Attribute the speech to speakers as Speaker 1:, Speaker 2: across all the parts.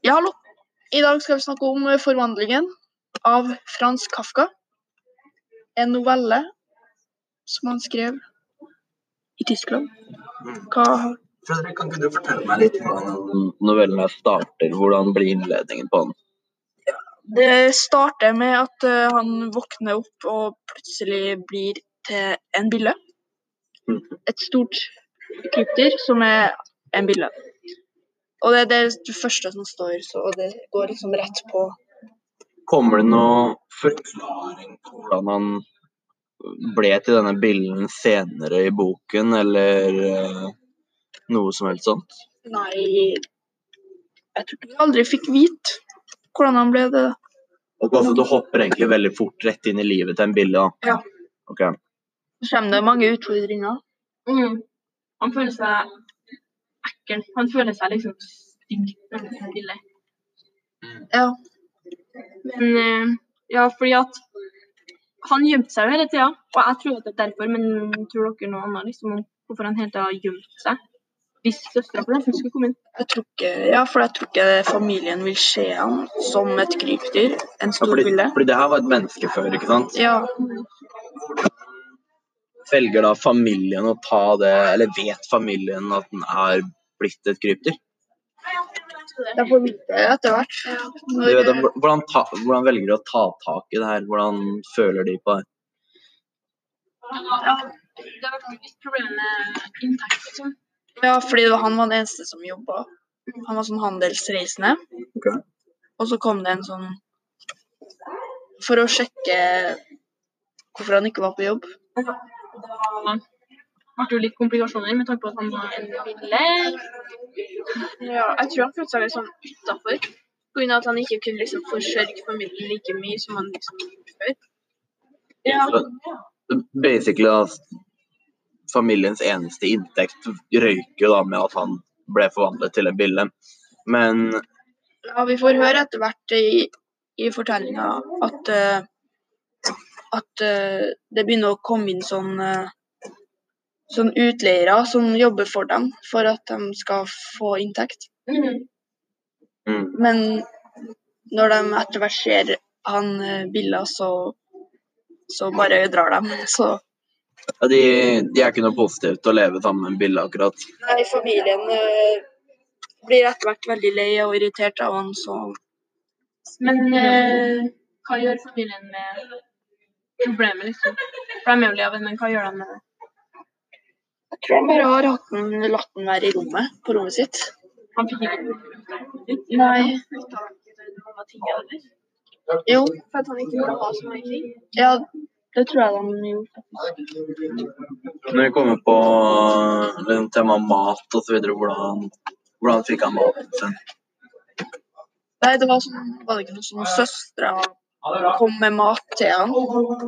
Speaker 1: Ja, hallo. I dag skal vi snakke om eh, 'Forvandlingen' av Frans Kafka. En novelle som han skrev i Tyskland.
Speaker 2: Mm.
Speaker 1: Hva
Speaker 2: Fredrik, kan ikke du fortelle meg litt hvordan novellen her starter? Hvordan blir innledningen på den?
Speaker 1: Det starter med at eh, han våkner opp og plutselig blir til en bille.
Speaker 2: Mhm.
Speaker 1: Et stort krypdyr som er en bille. Og det er det første som står, så og det går liksom rett på.
Speaker 2: Kommer det noe forklaring på hvordan han ble til denne bilden senere i boken, eller eh, noe som helst sånt?
Speaker 1: Nei Jeg tror ikke vi aldri fikk vite hvordan han ble det.
Speaker 2: Og altså, du hopper egentlig veldig fort rett inn i livet til en bille, da?
Speaker 1: Ja.
Speaker 2: Ok.
Speaker 1: Så kommer det mange utfordringer.
Speaker 3: Mm. Han føler seg ekkel. Han føler seg liksom stygg når han er stille.
Speaker 1: Ja.
Speaker 3: Men eh, ja, fordi at han gjemte seg jo hele tida. Og jeg tror at det er derfor, men tror dere noe annet liksom, om hvorfor han hele tida gjemte seg? Hvis søstera for eksempel skulle komme inn.
Speaker 1: Jeg tror ikke, ja, for jeg tror ikke familien vil se ham som et krypdyr. En
Speaker 2: Ja,
Speaker 1: stor
Speaker 2: fordi,
Speaker 1: bille.
Speaker 2: fordi det her var et menneske før, ikke sant?
Speaker 1: Ja.
Speaker 2: Velger da familien å ta det, eller vet familien at den er blitt et krypdyr?
Speaker 1: Jeg får vite det etter hvert.
Speaker 2: Du vet,
Speaker 1: Når,
Speaker 2: hv- hvordan, ta, hvordan velger du å ta tak i det her? Hvordan føler de på det?
Speaker 3: Ja, det var faktisk problemet med inntekt, liksom.
Speaker 1: ja, fordi det var- han var den eneste som jobba. Han var sånn handelsreisende.
Speaker 2: Ok.
Speaker 1: Og så kom det en sånn For å sjekke hvorfor han ikke var på jobb.
Speaker 3: Da ble det jo litt komplikasjoner med tanke på at han var en ville.
Speaker 4: Ja, jeg tror han følte seg litt sånn utafor. Pga. at han ikke kunne liksom forsørge familien like mye som han liksom gjorde før.
Speaker 3: Ja.
Speaker 2: Basically, da, s- familiens eneste inntekt røyker jo da med at han ble forvandlet til en bille. Men
Speaker 1: Ja, vi får høre etter hvert i, i fortellinga at eh, at eh, det begynner å komme inn sånn eh, sånn utleiere som jobber for dem for at de skal få inntekt.
Speaker 2: mm,
Speaker 1: Men når de etter hvert ser han eh, Billa, så, så bare drar de. Så
Speaker 2: ja, de, de er ikke noe positivt å leve sammen med en bille, akkurat.
Speaker 1: Nei, familien eh, blir etter hvert veldig lei og irritert av han, så
Speaker 3: Men eh, hva gjør familien med problemet, liksom? For de er jo lei av det, men hva gjør de med det?
Speaker 1: jeg tror han bare har hatt den, latt den være i rommet, på rommet sitt.
Speaker 3: Han fikk ikke
Speaker 1: Nei. Jo,
Speaker 4: For at han ikke ville ha så mange ting.
Speaker 1: ja, det tror jeg de gjorde.
Speaker 2: Når vi kommer på liksom, tema mat osv., hvordan, hvordan fikk han maten sin?
Speaker 1: Nei, det var, sånn, var det ikke noe sånn søstre kom med mat til han.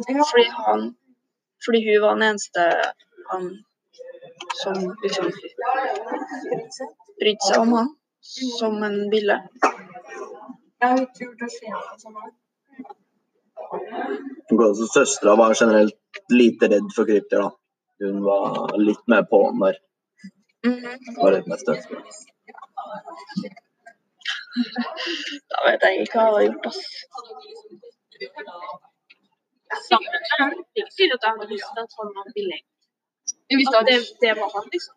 Speaker 1: Fordi, han, fordi hun var den eneste han som liksom brydde seg om han som en bille.
Speaker 2: Søstera var generelt lite redd for krypdyr, da. Hun var litt mer på'n der.
Speaker 1: Mhm.
Speaker 2: Var litt mer støtt.
Speaker 1: Da vet jeg ikke hva jeg har gjort, ass.
Speaker 4: Sammen med han. Det er ikke sikkert at jeg hadde lyst til at han var billig. At det, det var han, liksom.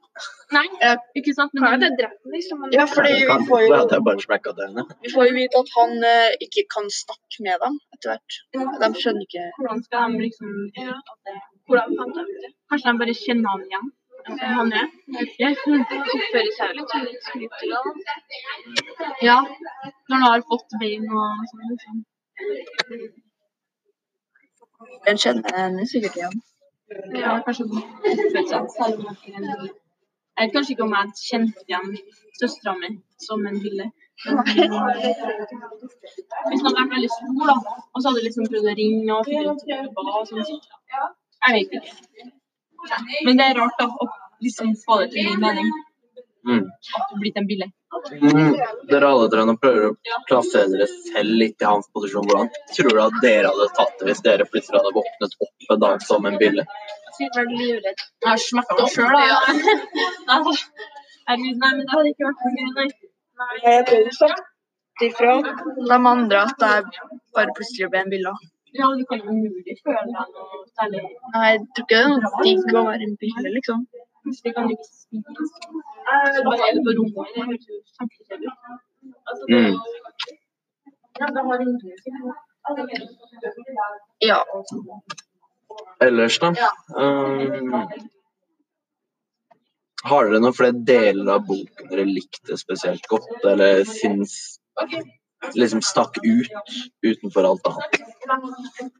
Speaker 3: Nei,
Speaker 1: Ja.
Speaker 3: ikke sant?
Speaker 4: Kan jo
Speaker 3: Men
Speaker 4: det drept ham, liksom. Men
Speaker 1: Ja, fordi
Speaker 2: Jeg
Speaker 1: vi
Speaker 2: kan-
Speaker 1: får
Speaker 2: da
Speaker 1: jo,
Speaker 2: hadde jeg bare smekket dørene.
Speaker 1: vi får jo vite at han eh, ikke kan snakke med dem etter hvert. De skjønner ikke
Speaker 3: hvordan skal de liksom
Speaker 4: Ja.
Speaker 3: at det-
Speaker 4: hvordan fant han ut det?
Speaker 3: Kanskje de bare kjenner han igjen? hvem Han er. Jeg
Speaker 4: Han
Speaker 3: føler-
Speaker 4: Oppfører seg jo litt sånn som en skryter.
Speaker 3: Ja, når han har fått bein og sånn. Liksom.
Speaker 1: Den kjenner henne sikkert igjen.
Speaker 3: Ja, kanskje de oppfører seg selv om de er en ville. Jeg vet kanskje ikke om jeg kjente igjen søstera mi som en ville. Hvis han hadde vært veldig stor, da, og så hadde jeg liksom prøvd å ringe og finne ut hvor det var og sånn. Jeg vet ikke. Men det er rart, da, å liksom få det til min mening
Speaker 2: Mm.
Speaker 3: at du er blitt en bille.
Speaker 2: Mm. Dere alle tre nå prøver å plassere dere selv litt i hans posisjon. Hvordan tror du at dere hadde tatt det hvis dere plutselig hadde våknet opp en dag som en bille?
Speaker 4: Sikkert vært livredd.
Speaker 3: Jeg har smerta meg sjøl, da. Herregud, nei, men det hadde ikke vært noe gøy, nei.
Speaker 1: Jeg tror det hørt ifra de andre at jeg bare plutselig ble en billa.
Speaker 3: Ja, du kan jo umulig føle deg noe særlig
Speaker 1: Nei, jeg tror ikke det er noe digg å være en bille, liksom.
Speaker 3: Plutselig kan du ikke spise. Så Eh, bare er du på rommet det høres jo kjempekjedelig ut. Altså, det-
Speaker 2: Mm.
Speaker 3: Ja, det har ingenting å si.
Speaker 1: Ja.
Speaker 2: Ellers, da? Um, har dere noen flere deler av boken dere likte spesielt godt, eller syns liksom stakk ut utenfor alt annet?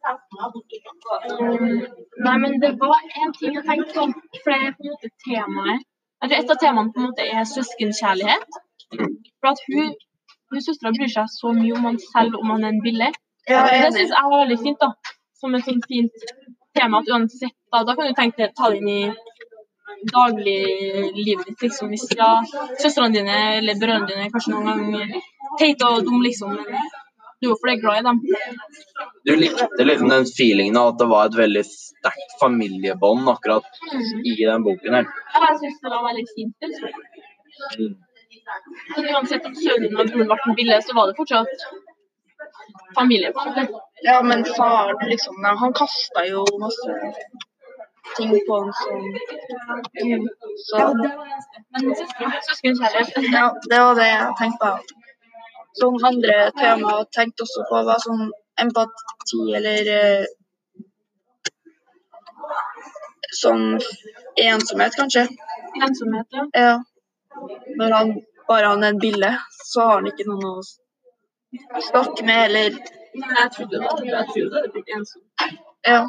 Speaker 3: Mm, Nei, men det var en ting jeg tenkte på. For det er på en måte temaet Eller et av temaene på en måte er søskenkjærlighet.
Speaker 2: Mm.
Speaker 3: For at hun, hun søstera bryr seg så mye om han selv om han er en bille.
Speaker 1: Jeg
Speaker 3: Og
Speaker 1: er
Speaker 3: det
Speaker 1: enig.
Speaker 3: syns jeg var veldig fint, da. Som et sånt fint tema. At uansett, da, da kan du tenke deg ta det inn i dagliglivet ditt, liksom. Hvis ja, søstrene dine eller brødrene dine er kanskje noen gang teite og dumme, liksom. Men du er jo fordi jeg er glad i dem.
Speaker 2: Du likte liksom den feelingen av at det var et veldig sterkt familiebånd akkurat i den boken her.
Speaker 3: Ja, jeg syns det var veldig fint. Liksom.
Speaker 2: Mm.
Speaker 3: Men uansett om sønnen din og broren ble en bille, så var det fortsatt familie. på en måte.
Speaker 1: Ja, men faren, liksom, nei, han kasta jo masse ting på han som Så
Speaker 3: Men søsken- søskenkjærlighet
Speaker 1: ja, det var det jeg tenkte på. Sånn andre tema jeg tenkte også på, var sånn empati eller eh, Sånn ensomhet, kanskje.
Speaker 3: Ensomhet, ja.
Speaker 1: Ja. Når han bare han er en bille, så har han ikke noen å s- snakke med, eller
Speaker 3: Nei, jeg trodde det var jeg trodde det hadde blitt ensom.
Speaker 1: Ja.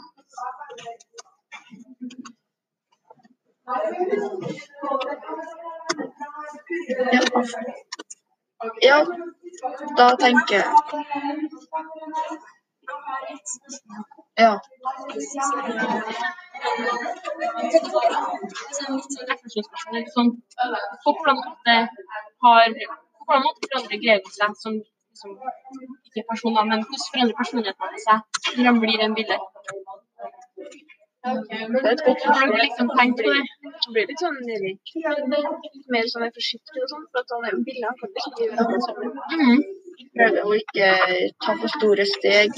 Speaker 1: Ja. ja. Da tenker jeg Ja.
Speaker 3: Etterspørsel, Sånn, på hvordan måte har på hvordan måte forandrer Greven seg som, som ikke person, da, men hvordan forandrer personligheten hans seg når han blir en bille?
Speaker 1: Det er et godt
Speaker 3: Har dere liksom tenkt på det?
Speaker 4: Han blir litt sånn nedi. Litt mer sånn er forsiktig og sånn, for at han er en bille. Han kan ikke gjøre noe sammen.
Speaker 3: Mm.
Speaker 1: prøve å ikke ta for store steg.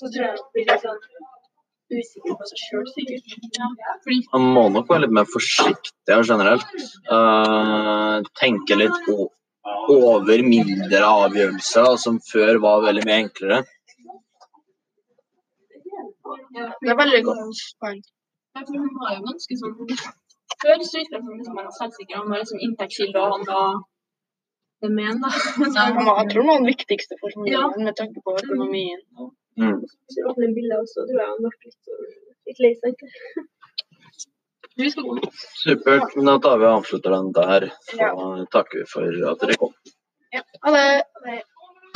Speaker 4: Så tror jeg han blir litt sånn usikker på seg sjøl, sikkert.
Speaker 3: Fordi
Speaker 2: Man må nok være litt mer forsiktig og generelt. Eh, tenke litt o over mindre avgjørelser da, som før var veldig mye enklere.
Speaker 1: Det er veldig godt poeng.
Speaker 3: Ja, for hun var jo ganske sånn Før så gikk det som liksom han var selvsikker, han var liksom inntektskilde, og han var det med en, da.
Speaker 1: Han var- Jeg tror han var den viktigste for familien med tanke på økonomien.
Speaker 2: Mm.
Speaker 4: Så åpner en bille også, tror jeg han ble litt, sånn- litt lei seg.
Speaker 3: Du skal gå nå.
Speaker 2: Supert. Men da tar vi og avslutter den der. Så takker vi for at dere kom.
Speaker 1: Ha det!
Speaker 4: Men